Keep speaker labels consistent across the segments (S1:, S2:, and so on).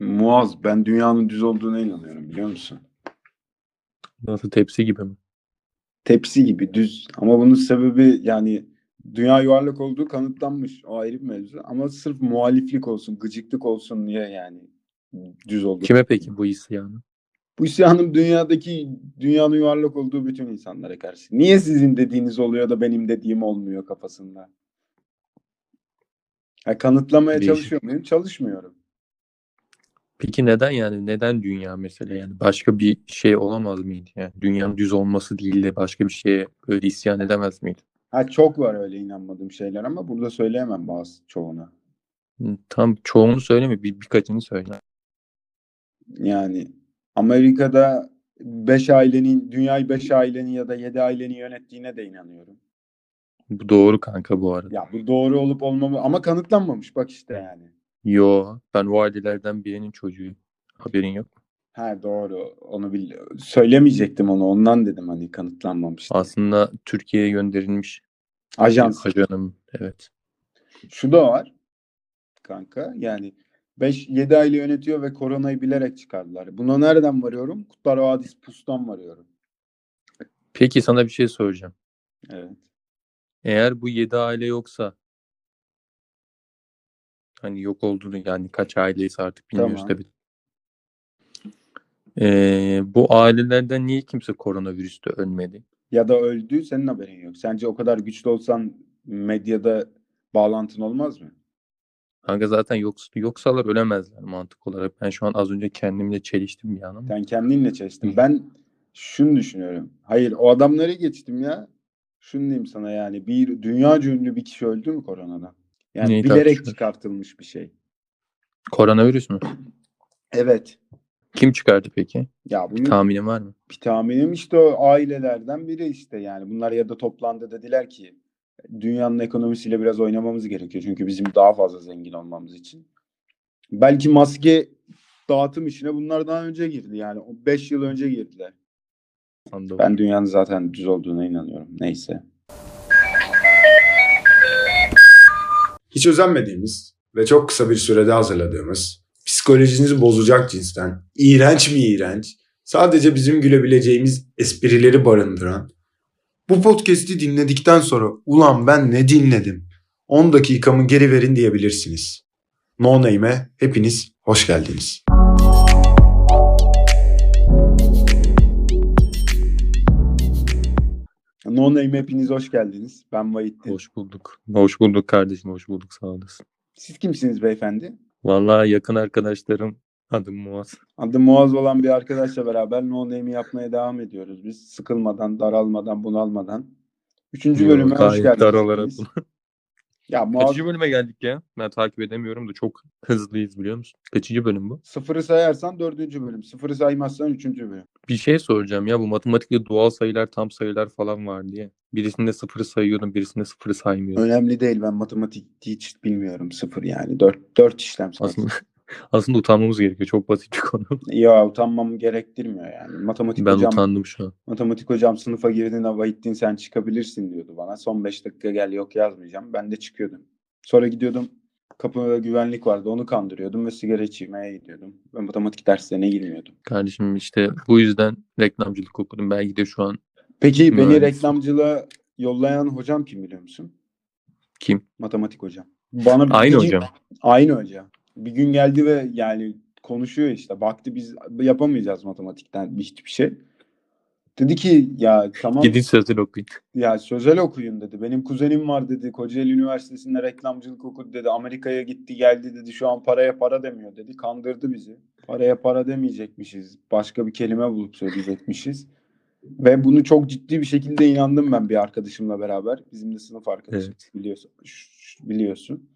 S1: Muaz, ben dünyanın düz olduğuna inanıyorum biliyor musun?
S2: Nasıl tepsi gibi mi?
S1: Tepsi gibi düz. Ama bunun sebebi yani dünya yuvarlak olduğu kanıtlanmış. O ayrı bir mevzu. Ama sırf muhaliflik olsun, gıcıklık olsun diye yani düz oldu.
S2: Kime peki bu isyanı?
S1: Bu isyanım dünyadaki dünyanın yuvarlak olduğu bütün insanlara karşı. Niye sizin dediğiniz oluyor da benim dediğim olmuyor kafasında? Ya kanıtlamaya
S2: Değişik.
S1: çalışıyor muyum? Çalışmıyorum.
S2: Peki neden yani neden dünya mesela yani başka bir şey olamaz mıydı yani dünyanın düz olması değil de başka bir şeye böyle isyan edemez miydi?
S1: Ha çok var öyle inanmadığım şeyler ama burada söyleyemem bazı çoğunu.
S2: Hı, Tam çoğunu söyleme bir, birkaçını söyle.
S1: Yani Amerika'da 5 ailenin, dünyayı 5 ailenin ya da 7 ailenin yönettiğine de inanıyorum.
S2: Bu doğru kanka bu arada.
S1: Ya bu doğru olup olmamı ama kanıtlanmamış bak işte yani.
S2: Yo ben o ailelerden birinin çocuğuyum. Haberin yok.
S1: Ha doğru. Onu bil söylemeyecektim onu. Ondan dedim hani kanıtlanmamış. diye.
S2: Aslında Türkiye'ye gönderilmiş bir
S1: Ajans.
S2: ajanım. Evet.
S1: Şu da var kanka. Yani 5-7 aile yönetiyor ve koronayı bilerek çıkardılar. Buna nereden varıyorum? Kutlar Vadisi Pusu'dan varıyorum.
S2: Peki sana bir şey soracağım.
S1: Evet.
S2: Eğer bu 7 aile yoksa hani yok olduğunu yani kaç aileyse artık bilmiyoruz
S1: Tamam.
S2: tabii. Ee, bu ailelerden niye kimse koronavirüste ölmedi?
S1: Ya da öldü senin haberin yok. Sence o kadar güçlü olsan medyada bağlantın olmaz mı?
S2: Kanka zaten yoks yoksalar ölemezler mantık olarak. Ben şu an az önce kendimle çeliştim bir an ama.
S1: Sen kendinle çalıştın. Ben şunu düşünüyorum. Hayır o adamları geçtim ya. Şunu diyeyim sana yani bir dünya ünlü bir kişi öldü mü koronadan? Yani
S2: Neyi
S1: bilerek
S2: tartışıyoruz?
S1: çıkartılmış bir şey.
S2: Koronavirüs mü?
S1: Evet.
S2: Kim çıkardı peki?
S1: Ya bunu
S2: Tahminin var mı?
S1: bir tahminim işte o ailelerden biri işte yani bunlar ya da toplandı dediler ki dünyanın ekonomisiyle biraz oynamamız gerekiyor çünkü bizim daha fazla zengin olmamız için. Belki maske dağıtım işine bunlar daha önce girdi yani 5 yıl önce girdiler.
S2: Sandım.
S1: Ben dünyanın zaten düz olduğuna inanıyorum. Neyse.
S3: Hiç özenmediğimiz ve çok kısa bir sürede hazırladığımız, psikolojinizi bozacak cinsten, iğrenç mi iğrenç, sadece bizim gülebileceğimiz esprileri barındıran, bu podcast'i dinledikten sonra ulan ben ne dinledim, 10 dakikamı geri verin diyebilirsiniz. No Name'e hepiniz hoş geldiniz.
S1: No Name hepiniz hoş geldiniz. Ben Vahit. Terim.
S2: Hoş bulduk. Hoş bulduk kardeşim. Hoş bulduk. Sağ olasın.
S1: Siz kimsiniz beyefendi?
S2: Vallahi yakın arkadaşlarım adım Muaz.
S1: Adı Muaz olan bir arkadaşla beraber No Name'i yapmaya devam ediyoruz. Biz sıkılmadan, daralmadan, bunalmadan. Üçüncü
S2: Yo,
S1: bölüme hoş
S2: gayet
S1: geldiniz.
S2: daralara
S1: hepiniz. Ya Muaz
S2: Kaçıncı bölüme geldik ya? Ben takip edemiyorum da çok hızlıyız biliyor musun? Kaçıncı bölüm bu?
S1: sıfırı sayarsan dördüncü bölüm. Sıfırı saymazsan üçüncü bölüm.
S2: Bir şey soracağım ya bu matematikte doğal sayılar, tam sayılar falan var diye. Birisinde sıfırı sayıyordum, birisinde sıfırı saymıyordum.
S1: Önemli değil ben matematik hiç bilmiyorum. Sıfır yani. Dört, dört işlem sayısı.
S2: Aslında aslında utanmamız gerekiyor. Çok basit bir konu.
S1: Ya utanmam gerektirmiyor yani. Matematik
S2: Ben
S1: hocam
S2: utandım şu an.
S1: matematik hocam sınıfa girdiğinde Vahittin sen çıkabilirsin diyordu bana. Son 5 dakika gel yok yazmayacağım. Ben de çıkıyordum. Sonra gidiyordum kapıda güvenlik vardı onu kandırıyordum ve sigara içmeye gidiyordum. Ben matematik derslerine girmiyordum.
S2: Kardeşim işte bu yüzden reklamcılık okudum. Belki de şu an
S1: Peki beni
S2: Mühendis.
S1: reklamcılığa yollayan hocam kim biliyor musun?
S2: kim?
S1: Matematik hocam. Bana bir
S2: Aynı
S1: gün-
S2: hocam.
S1: Aynı hocam. Bir gün geldi ve yani konuşuyor işte. Baktı biz yapamayacağız matematikten hiçbir şey. Dedi ki ya tamam.
S2: Gidin sözler okuyun.
S1: Ya sözel okuyun dedi. Benim kuzenim var dedi. Kocaeli Üniversitesi'nde reklamcılık okudu dedi. Amerika'ya gitti geldi dedi. Şu an paraya para demiyor dedi. Kandırdı bizi. Paraya para demeyecekmişiz. Başka bir kelime bulup söyleyecekmişiz. Ve bunu çok ciddi bir şekilde inandım ben bir arkadaşımla beraber. Bizim de sınıf arkadaşımız biliyorsun. ş- ş- Biliyorsun.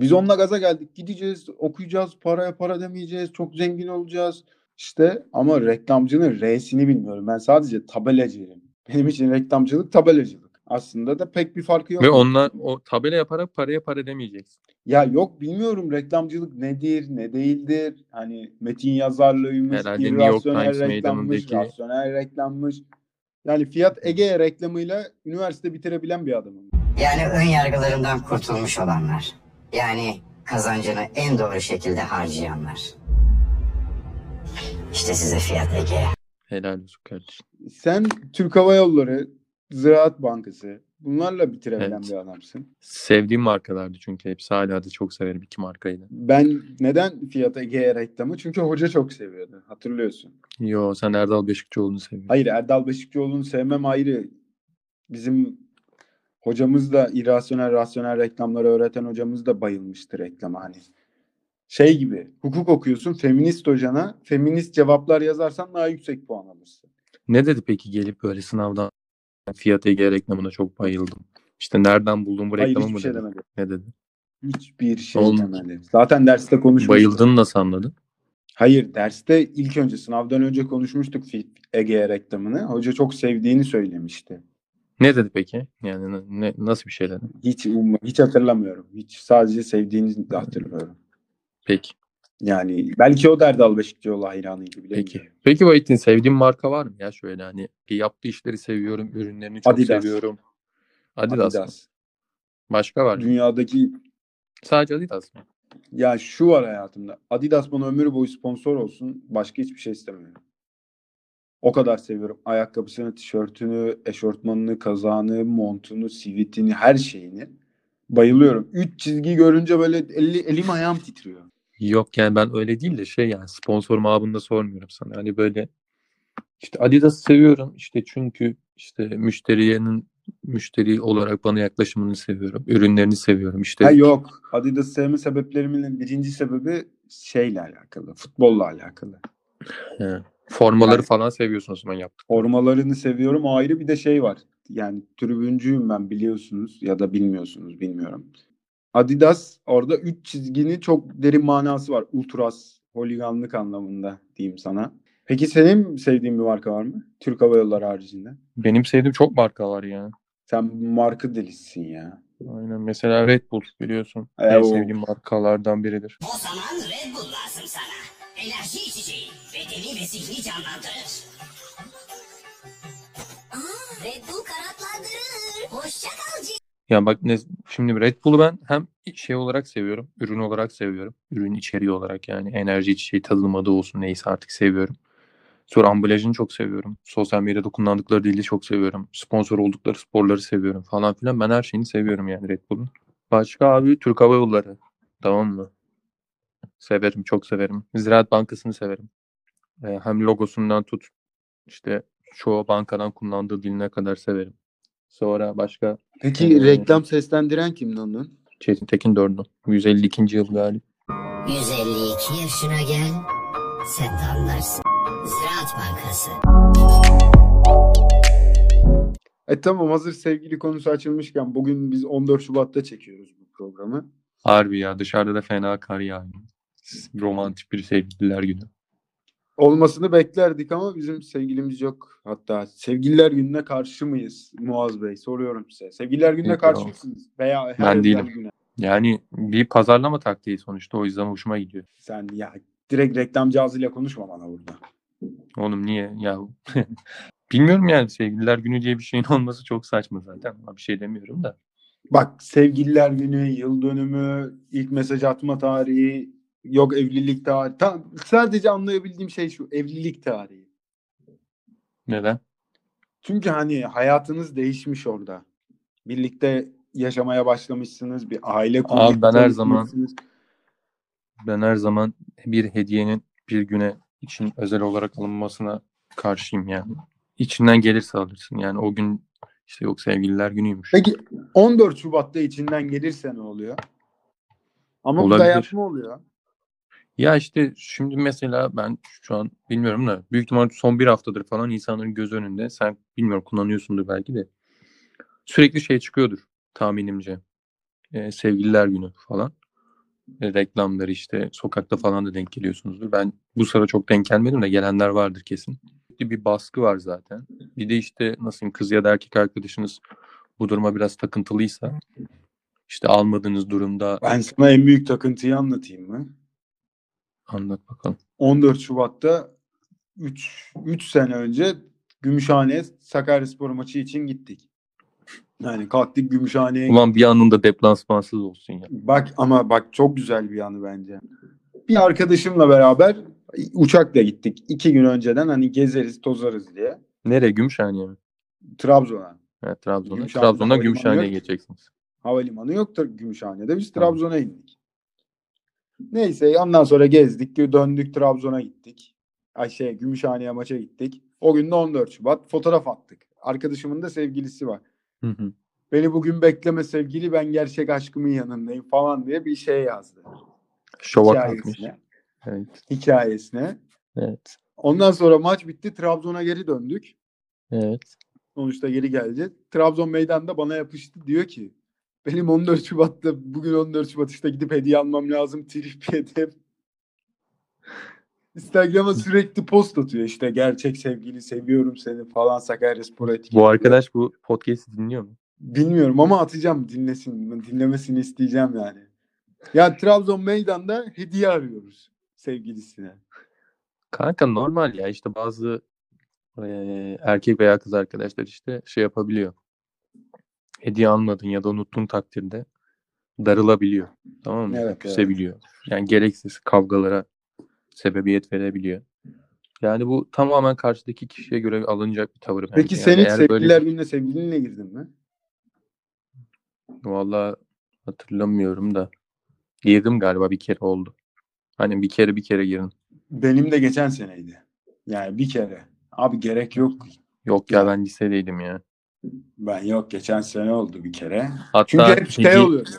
S1: Biz onunla gaza geldik. Gideceğiz, okuyacağız, paraya para demeyeceğiz, çok zengin olacağız. İşte ama reklamcının R'sini bilmiyorum. Ben sadece tabelacıyım. Benim için reklamcılık tabelacılık. Aslında da pek bir farkı yok.
S2: Ve onlar o tabela yaparak paraya para demeyeceksin.
S1: Ya yok bilmiyorum reklamcılık nedir, ne değildir. Hani metin yazarlığıymış,
S2: Herhalde New York
S1: irrasyonel
S2: Times
S1: reklammış,
S2: meydanındaki-
S1: rasyonel reklammış. Yani Fiat Ege reklamıyla üniversite bitirebilen bir adamım.
S4: Yani ön yargılarından kurtulmuş olanlar. Yani kazancını en doğru şekilde harcayanlar. İşte size Fiat Ege.
S2: Helal olsun kardeşim.
S1: Sen Türk Hava Yolları, Ziraat Bankası bunlarla bitirebilen
S2: Evet.
S1: bir adamsın.
S2: Sevdiğim markalardı çünkü hepsi hala da çok severim iki markayı da.
S1: Ben neden Fiat Ege'ye reklamı? Çünkü hoca çok seviyordu. Hatırlıyorsun.
S2: Yo sen Erdal Beşikçioğlu'nu seviyorsun.
S1: Hayır Erdal Beşikçioğlu'nu sevmem ayrı. Bizim hocamız da irrasyonel rasyonel reklamları öğreten hocamız da bayılmıştı reklama hani. Şey gibi hukuk okuyorsun feminist hocana feminist cevaplar yazarsan daha yüksek puan alırsın.
S2: Ne dedi peki gelip böyle sınavdan Fiat Ege reklamına çok bayıldım. İşte nereden buldun bu
S1: Hayır
S2: reklamı
S1: hiçbir
S2: mı
S1: şey
S2: dedi.
S1: demedi.
S2: Ne dedi?
S1: Hiçbir şey
S2: Olmadı.
S1: demedi. Zaten derste konuşmuştuk.
S2: Bayıldığını nasıl anladın?
S1: Hayır derste ilk önce sınavdan önce konuşmuştuk Fi- Ege reklamını. Hoca çok sevdiğini söylemişti.
S2: Ne dedi peki? Yani ne- ne, nasıl bir şey dedi?
S1: Hiç umma- hiç hatırlamıyorum. Hiç sadece sevdiğini de hatırlıyorum.
S2: Peki.
S1: Yani belki o da Erdal Beşikçioğlu hayranıydı bile.
S2: Peki. Peki Vahit'in sevdiğin marka var mı ya şöyle hani yaptığı işleri seviyorum, ürünlerini çok
S1: Adidas.
S2: seviyorum. Adidas.
S1: Adidas.
S2: mı? Başka var mı?
S1: Dünyadaki
S2: Sadece Adidas mı?
S1: ya şu var hayatımda. Adidas bana ömür boyu sponsor olsun. Başka hiçbir şey istemiyorum. O kadar seviyorum. Ayakkabısını, tişörtünü, eşortmanını, kazağını, montunu, sivitini, her şeyini. Bayılıyorum. Üç çizgi görünce böyle eli, elim ayağım titriyor.
S2: Yok yani ben öyle değil de şey yani sponsor mabında sormuyorum sana. Hani böyle işte Adidas'ı seviyorum işte çünkü işte müşteriyenin müşteri olarak bana yaklaşımını seviyorum. Ürünlerini seviyorum işte.
S1: Ha yok. Adidas sevme sebeplerimin birinci sebebi şeyle alakalı. Futbolla alakalı.
S2: He. Formaları
S1: Hayır.
S2: falan seviyorsun o zaman yaptık.
S1: Formalarını seviyorum. O ayrı bir de şey var. Yani tribüncüyüm ben biliyorsunuz ya da bilmiyorsunuz bilmiyorum. Adidas orada 3 çizginin çok derin manası var. Ultras, holiganlık anlamında diyeyim sana. Peki senin sevdiğin bir marka var mı? Türk Hava Yolları haricinde.
S2: Benim sevdiğim çok marka var ya.
S1: Sen marka delisisin ya.
S2: Aynen mesela Red Bull biliyorsun. En
S1: Evet.
S2: sevdiğim markalardan biridir.
S4: O zaman Red Bull lazım sana. Enerji içeceği bedeni ve zihni canlandırır. Aa, Red Bull kanatlandırır. Hoşça kal
S2: Ya bak ne, şimdi Red Bull'u ben hem şey olarak seviyorum, ürün olarak seviyorum. Ürün içeriği olarak yani enerji içeceği tadının adı olsun neyse artık seviyorum. Sonra ambalajını çok seviyorum. Sosyal medyada kullandıkları dili çok seviyorum. Sponsor oldukları sporları seviyorum falan filan. Ben her şeyini seviyorum yani Red Bull'un. Başka abi Türk Hava Yolları. Tamam mı? Severim, çok severim. Ziraat Bankası'nı severim. Ee, hem logosundan tut işte çoğu bankadan kullandığı diline kadar severim. Sonra başka
S1: Peki reklam seslendiren kimdi onun?
S2: Çetin Tekin dördü. 152. yıl galiba.
S4: 152 yaşına gel, sen de anlarsın. Ziraat Bankası.
S1: E tamam hazır sevgili konusu açılmışken bugün biz 14 Şubat'ta çekiyoruz bu programı.
S2: Harbi ya dışarıda da fena kar yağıyor. Romantik bir sevgililer günü.
S1: olmasını beklerdik ama bizim sevgilimiz yok. Hatta sevgililer gününe karşı mıyız Muaz Bey? Soruyorum size. Sevgililer gününe
S2: Yok,
S1: karşı
S2: yok.
S1: mısınız? Veya her
S2: Ben
S1: özel
S2: değilim.
S1: güne.
S2: Yani bir pazarlama taktiği sonuçta o yüzden hoşuma gidiyor.
S1: Sen ya direkt reklamcı ağzıyla konuşma bana burada.
S2: Oğlum niye ya? Bilmiyorum yani sevgililer günü diye bir şeyin olması çok saçma zaten. Ama Bir şey demiyorum da.
S1: Bak sevgililer günü, yıl dönümü, ilk mesaj atma tarihi, yok evlilik tarihi. Tam, sadece anlayabildiğim şey şu evlilik tarihi.
S2: Neden?
S1: Çünkü hani hayatınız değişmiş orada. Birlikte yaşamaya başlamışsınız. Bir aile
S2: Abi ben her zaman-
S1: kurmuşsunuz.
S2: Ben her zaman bir hediyenin bir güne için özel olarak alınmasına karşıyım yani. İçinden gelirse alırsın. Yani o gün işte yok sevgililer günüymüş.
S1: Peki 14 Şubat'ta içinden gelirse ne oluyor? Ama bu
S2: Olabilir.
S1: dayatma oluyor.
S2: Ya işte şimdi mesela ben şu an bilmiyorum da büyük ihtimal son bir haftadır falan insanların göz önünde sen bilmiyorum kullanıyorsundur belki de sürekli şey çıkıyordur tahminimce Ee, sevgililer günü falan E, reklamları işte sokakta falan da denk geliyorsunuzdur. Ben bu sıra çok denk gelmedim de gelenler vardır kesin. Bir baskı var zaten. Bir de işte nasıl diyeyim, kız ya da erkek arkadaşınız bu duruma biraz takıntılıysa işte almadığınız durumda
S1: Ben sana en büyük takıntıyı anlatayım mı?
S2: anlat bakalım.
S1: 14 Şubat'ta 3 3 sene önce Gümüşhane Sakaryaspor maçı için gittik. Yani kalktık Gümüşhane'ye
S2: Ulan bir anında deplasmansız olsun ya.
S1: Bak ama bak çok güzel bir yanı bence. Bir arkadaşımla beraber uçakla gittik. iki gün önceden hani gezeriz tozarız diye.
S2: Nereye? Gümüşhane'ye mi?
S1: Trabzon'a.
S2: Evet, Trabzon'a.
S1: Gümüşhane'de
S2: Trabzon'dan
S1: havalimanı
S2: Gümüşhane'ye
S1: yok.
S2: geçeceksiniz.
S1: Havalimanı yok da Gümüşhane'de. Biz
S2: Tamam.
S1: Trabzon'a indik. Neyse ondan sonra gezdik. Döndük Trabzon'a gittik. Ay şey Gümüşhane'ye maça gittik. O gün de 14 Şubat fotoğraf attık. Arkadaşımın da sevgilisi var.
S2: Hı hı.
S1: Beni bugün bekleme sevgili ben gerçek aşkımın yanındayım falan diye bir şey yazdı.
S2: Şovak atmış.
S1: Hikayesine.
S2: Evet.
S1: Hikayesine.
S2: Evet.
S1: Ondan sonra maç bitti. Trabzon'a geri döndük.
S2: Evet.
S1: Sonuçta geri geldi. Trabzon meydanda bana yapıştı. Diyor ki benim 14 Şubat'ta bugün 14 Şubat işte gidip hediye almam lazım. Trip yedim. Instagram'a sürekli post atıyor işte gerçek sevgili seviyorum seni falan Sakaryaspor etkili.
S2: Bu arkadaş bu podcast'i dinliyor mu?
S1: Bilmiyorum ama atacağım dinlesin. Dinlemesini isteyeceğim yani. Ya Trabzon meydanda hediye arıyoruz sevgilisine.
S2: Kanka normal ya işte bazı eee, erkek veya kız arkadaşlar işte şey yapabiliyor. Hediye almadın ya da unuttun takdirde darılabiliyor. Tamam mı?
S1: Evet, evet.
S2: Küsebiliyor. Yani gereksiz kavgalara sebebiyet verebiliyor. Yani bu tamamen karşıdaki kişiye göre alınacak bir tavır bence.
S1: Peki
S2: Yani
S1: sen hiç
S2: eğer böyle
S1: sevgililer gününe sevgilinle girdin mi?
S2: Vallahi hatırlamıyorum da girdim galiba bir kere oldu. Hani bir kere bir kere girin.
S1: Benim de geçen seneydi. Yani bir kere. Abi gerek yok.
S2: Yok ya ben lisedeydim ya.
S1: Ben yok geçen sene oldu bir kere.
S2: Hatta
S1: Çünkü hep şey
S2: hediye-
S1: oluyordu.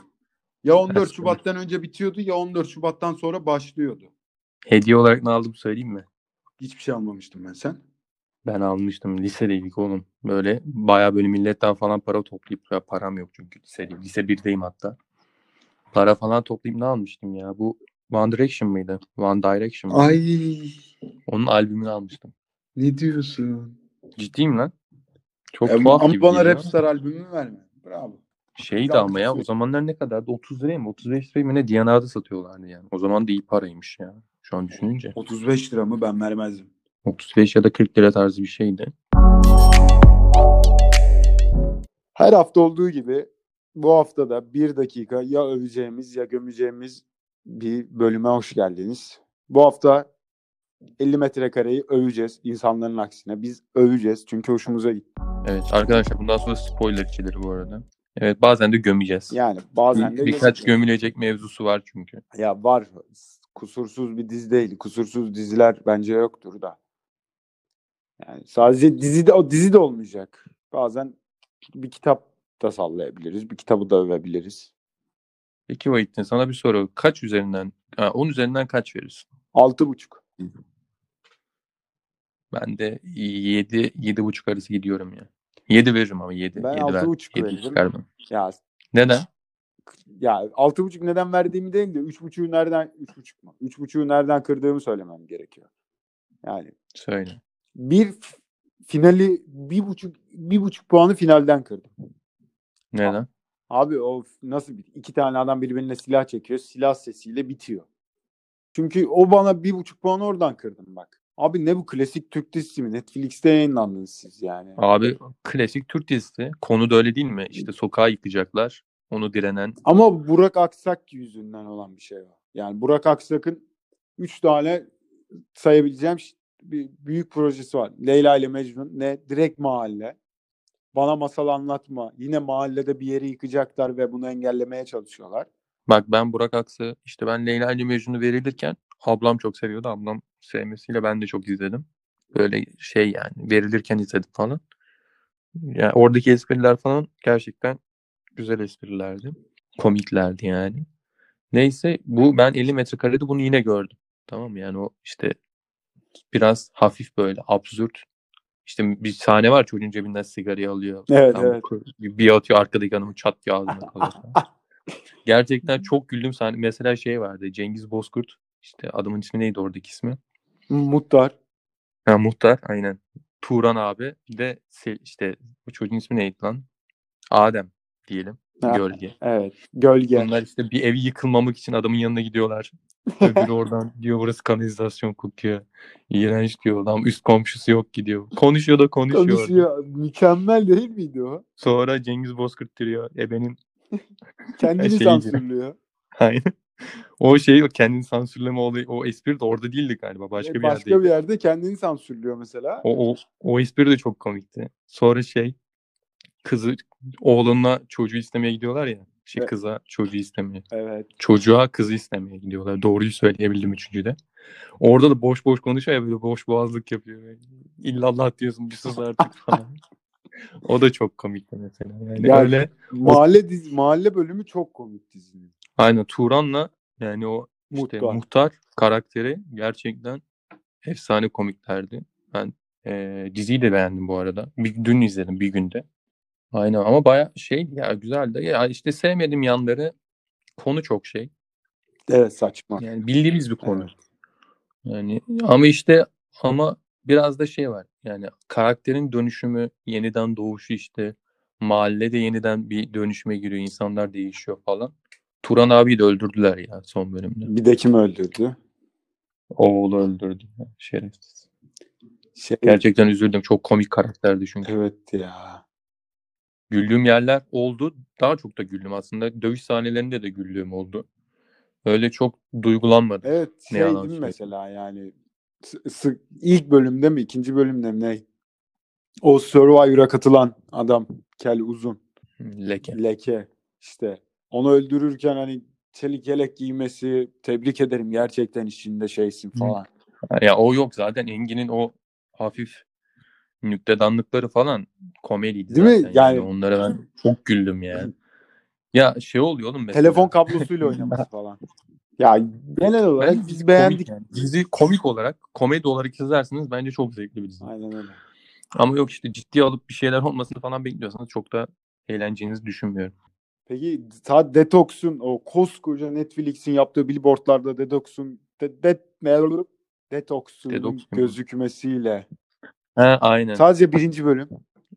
S1: Ya 14
S2: Nasıl?
S1: Şubat'tan önce bitiyordu ya 14 Şubat'tan sonra başlıyordu.
S2: hediye olarak ne aldım söyleyeyim mi?
S1: Hiçbir şey almamıştım ben sen.
S2: Ben almıştım lisedeydik oğlum. Böyle bayağı böyle milletten falan para toplayıp ya param yok çünkü lisedeyim. Lise 1'deyim hatta. Para falan toplayıp ne almıştım ya? Bu One Direction mıydı? One Direction mıydı?
S1: Ay
S2: Onun albümünü almıştım.
S1: ne diyorsun?
S2: Ciddiyim lan. Çok
S1: Ya,
S2: tuhaf
S1: ama
S2: gibi
S1: bana
S2: geliyor.
S1: Rapstar albümü verme. Bravo.
S2: Şeydi
S1: Ya,
S2: ama ya o
S1: kızı-
S2: zamanlar ne kadardı? 30 liraya mı? 35 liraya mı ne Diyanar'da satıyorlardı yani. O zaman da iyi paraymış ya. Şu an düşününce.
S1: 35 lira mı ben vermezdim.
S2: 35 ya da 40 lira tarzı bir şeydi.
S1: Her hafta olduğu gibi bu hafta da bir dakika ya öveceğimiz ya gömeceğimiz bir bölüme hoş geldiniz. Bu hafta 50 metrekareyi öveceğiz insanların aksine. Biz öveceğiz çünkü hoşumuza gitti.
S2: Evet arkadaşlar bundan sonra spoiler içilir bu arada. Evet bazen de gömeceğiz.
S1: Yani bazen de
S2: Birkaç gömülecek mevzusu var çünkü.
S1: Ya var. Kusursuz bir dizi değil. Kusursuz diziler bence yoktur da. Yani sadece dizi de o dizi de olmayacak. Bazen bir kitap da sallayabiliriz. Bir kitabı da övebiliriz.
S2: Peki Vahit'in sana bir soru. Kaç üzerinden, ha, 10 üzerinden kaç verirsin?
S1: Altı buçuk.
S2: Ben de 7, 7,5 arası gidiyorum ya. 7 veririm ama 7.
S1: Ben altı buçuk veririm. Ya
S2: Neden?
S1: ya altı buçuk neden verdiğimi değil de üç buçuğu nereden üç buçuk mu? Üç buçuğu nereden kırdığımı söylemem gerekiyor. Yani
S2: Söyle.
S1: bir f- finali bir buçuk bir buçuk puanı finalden kırdım.
S2: Neden?
S1: Abi o f- nasıl bir iki tane adam birbirine silah çekiyor. Silah sesiyle bitiyor. Çünkü o bana bir buçuk puan oradan kırdım bak. Abi ne bu klasik Türk dizisi mi? Netflix'te yayınlandınız siz yani.
S2: Abi klasik Türk dizisi. Konu da öyle değil mi? İşte sokağa yıkacaklar. Onu direnen.
S1: Ama Burak Aksak yüzünden olan bir şey var. Yani Burak Aksak'ın üç tane sayabileceğim ş- bir büyük projesi var. Leyla ile Mecnun ne? Direkt mahalle. Bana masal anlatma. Yine mahallede bir yeri yıkacaklar ve bunu engellemeye çalışıyorlar.
S2: Bak ben Burak Aksı. işte ben Leyla ile Mecnun'u verilirken ablam çok seviyordu. Ablam sevmesiyle ben de çok izledim. Böyle şey yani verilirken izledim falan. Yani oradaki espriler falan gerçekten güzel esprilerdi. Komiklerdi yani. Neyse bu ben 50 metrekarede bunu yine gördüm. Tamam mı? Yani o işte biraz hafif böyle absürt. İşte bir sahne var çocuğun cebinden sigarayı alıyor.
S1: Evet,
S2: Tam
S1: evet.
S2: bir bir atıyor arkadaki hanımın çat diye ağzına kalıyor. falan. Gerçekten çok güldüm sahne. Mesela şey vardı Cengiz Bozkurt. İşte adamın ismi neydi oradaki ismi?
S1: Mutlar.
S2: Ha, muhtar aynen. Turan abi bir de Sel- işte bu çocuğun ismi neydi lan? Adem diyelim.
S5: Ha.
S2: Gölge.
S5: Evet. Gölge.
S2: Bunlar işte bir ev yıkılmamak için adamın yanına gidiyorlar. Öbürü oradan diyor burası kanalizasyon kokuyor. İğrenç diyor adam. Üst komşusu yok gidiyor. Konuşuyor da konuşuyor.
S1: Konuşuyor. Mükemmel değil miydi o?
S2: Sonra Cengiz Bozkurt "E, diyor. Ebenin
S1: Kendini
S2: Şey gibi.
S1: sansürlüyor.
S2: Aynen. o şey o kendini sansürleme olayı o espri de orada değildi galiba. Başka bir
S1: E, Başka
S2: yerdeydi.
S1: bir yerde kendini sansürlüyor mesela.
S2: O, o, o espri de çok komikti. Sonra şey kızı oğlunla çocuğu istemeye gidiyorlar ya. Şey
S1: Evet.
S2: kıza çocuğu istemeye.
S1: Evet.
S2: Çocuğa kızı istemeye gidiyorlar. Doğruyu söyleyebildim üçüncüde. Orada da boş boş konuşuyor ya böyle boş boğazlık yapıyor. Böyle, İllallah diyorsun bir sus artık falan. o da çok komikti mesela. Yani
S1: Ya-
S2: öyle
S1: Mahalle dizi, mahalle bölümü çok komik dizinin.
S2: Aynen Turan'la yani o işte
S1: Muhtar.
S2: muhtar, karakteri gerçekten efsane komiklerdi. Ben eee diziyi de beğendim bu arada. Bir, dün izledim bir günde. Aynen ama baya şey ya güzeldi. Ya işte sevmedim yanları konu çok şey.
S1: Evet saçma.
S2: Yani bildiğimiz bir konu. Yani ama işte ama biraz da şey var. Yani karakterin dönüşümü, yeniden doğuşu işte mahalle de yeniden bir dönüşüme giriyor. İnsanlar değişiyor falan. Turan abiyi de öldürdüler ya son bölümde.
S1: Bir de kim öldürdü?
S2: Oğlu öldürdü. ya, Şerefsiz.
S1: Şey,
S2: Gerçekten üzüldüm. Çok komik karakterdi çünkü.
S1: evet ya.
S2: Güldüğüm yerler oldu. Daha çok da güldüm aslında. Dövüş sahnelerinde de güldüğüm oldu. Öyle çok duygulanmadım.
S1: Evet
S2: Ne
S1: şey
S2: yalan
S1: değil mi
S2: söyleyeyim.
S1: mesela yani S- sık- ilk bölümde mi ikinci bölümde mi ne? O Survivor'a katılan adam kel uzun.
S2: Leke.
S1: leke işte onu öldürürken hani çelik yelek giymesi tebrik ederim gerçekten işinde şeysin falan.
S2: Ya o yok zaten Engin'in o hafif nüktedanlıkları falan komediydi
S1: Değil mi?
S2: zaten. Yani,
S1: Yani-
S2: onlara ben çok güldüm ya. Ya şey oluyor oğlum mesela.
S1: Telefon kablosuyla oynaması falan. Ya genel olarak
S2: Bence
S1: biz
S2: dizi
S1: beğendik.
S2: komik yani. Dizi komik olarak, komedi olarak izlerseniz bence çok zevkli bir dizi.
S1: Aynen öyle.
S2: Ama yok işte ciddiye alıp bir şeyler olmasını falan bekliyorsanız çok da eğleneceğinizi düşünmüyorum.
S1: Peki ta Detox'un o koskoca Netflix'in yaptığı billboardlarda Detox'un de, de, ne olur? Detox'un
S2: Detox mu?
S1: gözükmesiyle.
S2: Ha aynen.
S1: Sadece birinci bölüm.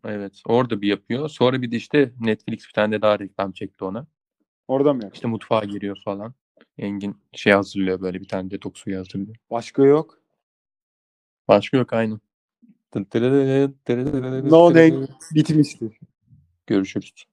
S2: Evet. Orada bir yapıyor. Sonra bir de işte Netflix bir tane de daha reklam çekti ona.
S1: Orada mı yok?
S2: İşte mutfağa giriyor falan. Engin şey hazırlıyor böyle bir tane detoks suyu hazırlıyor.
S1: Başka yok.
S2: Başka yok aynı.
S1: No name bitmiştir.
S2: Görüşürüz.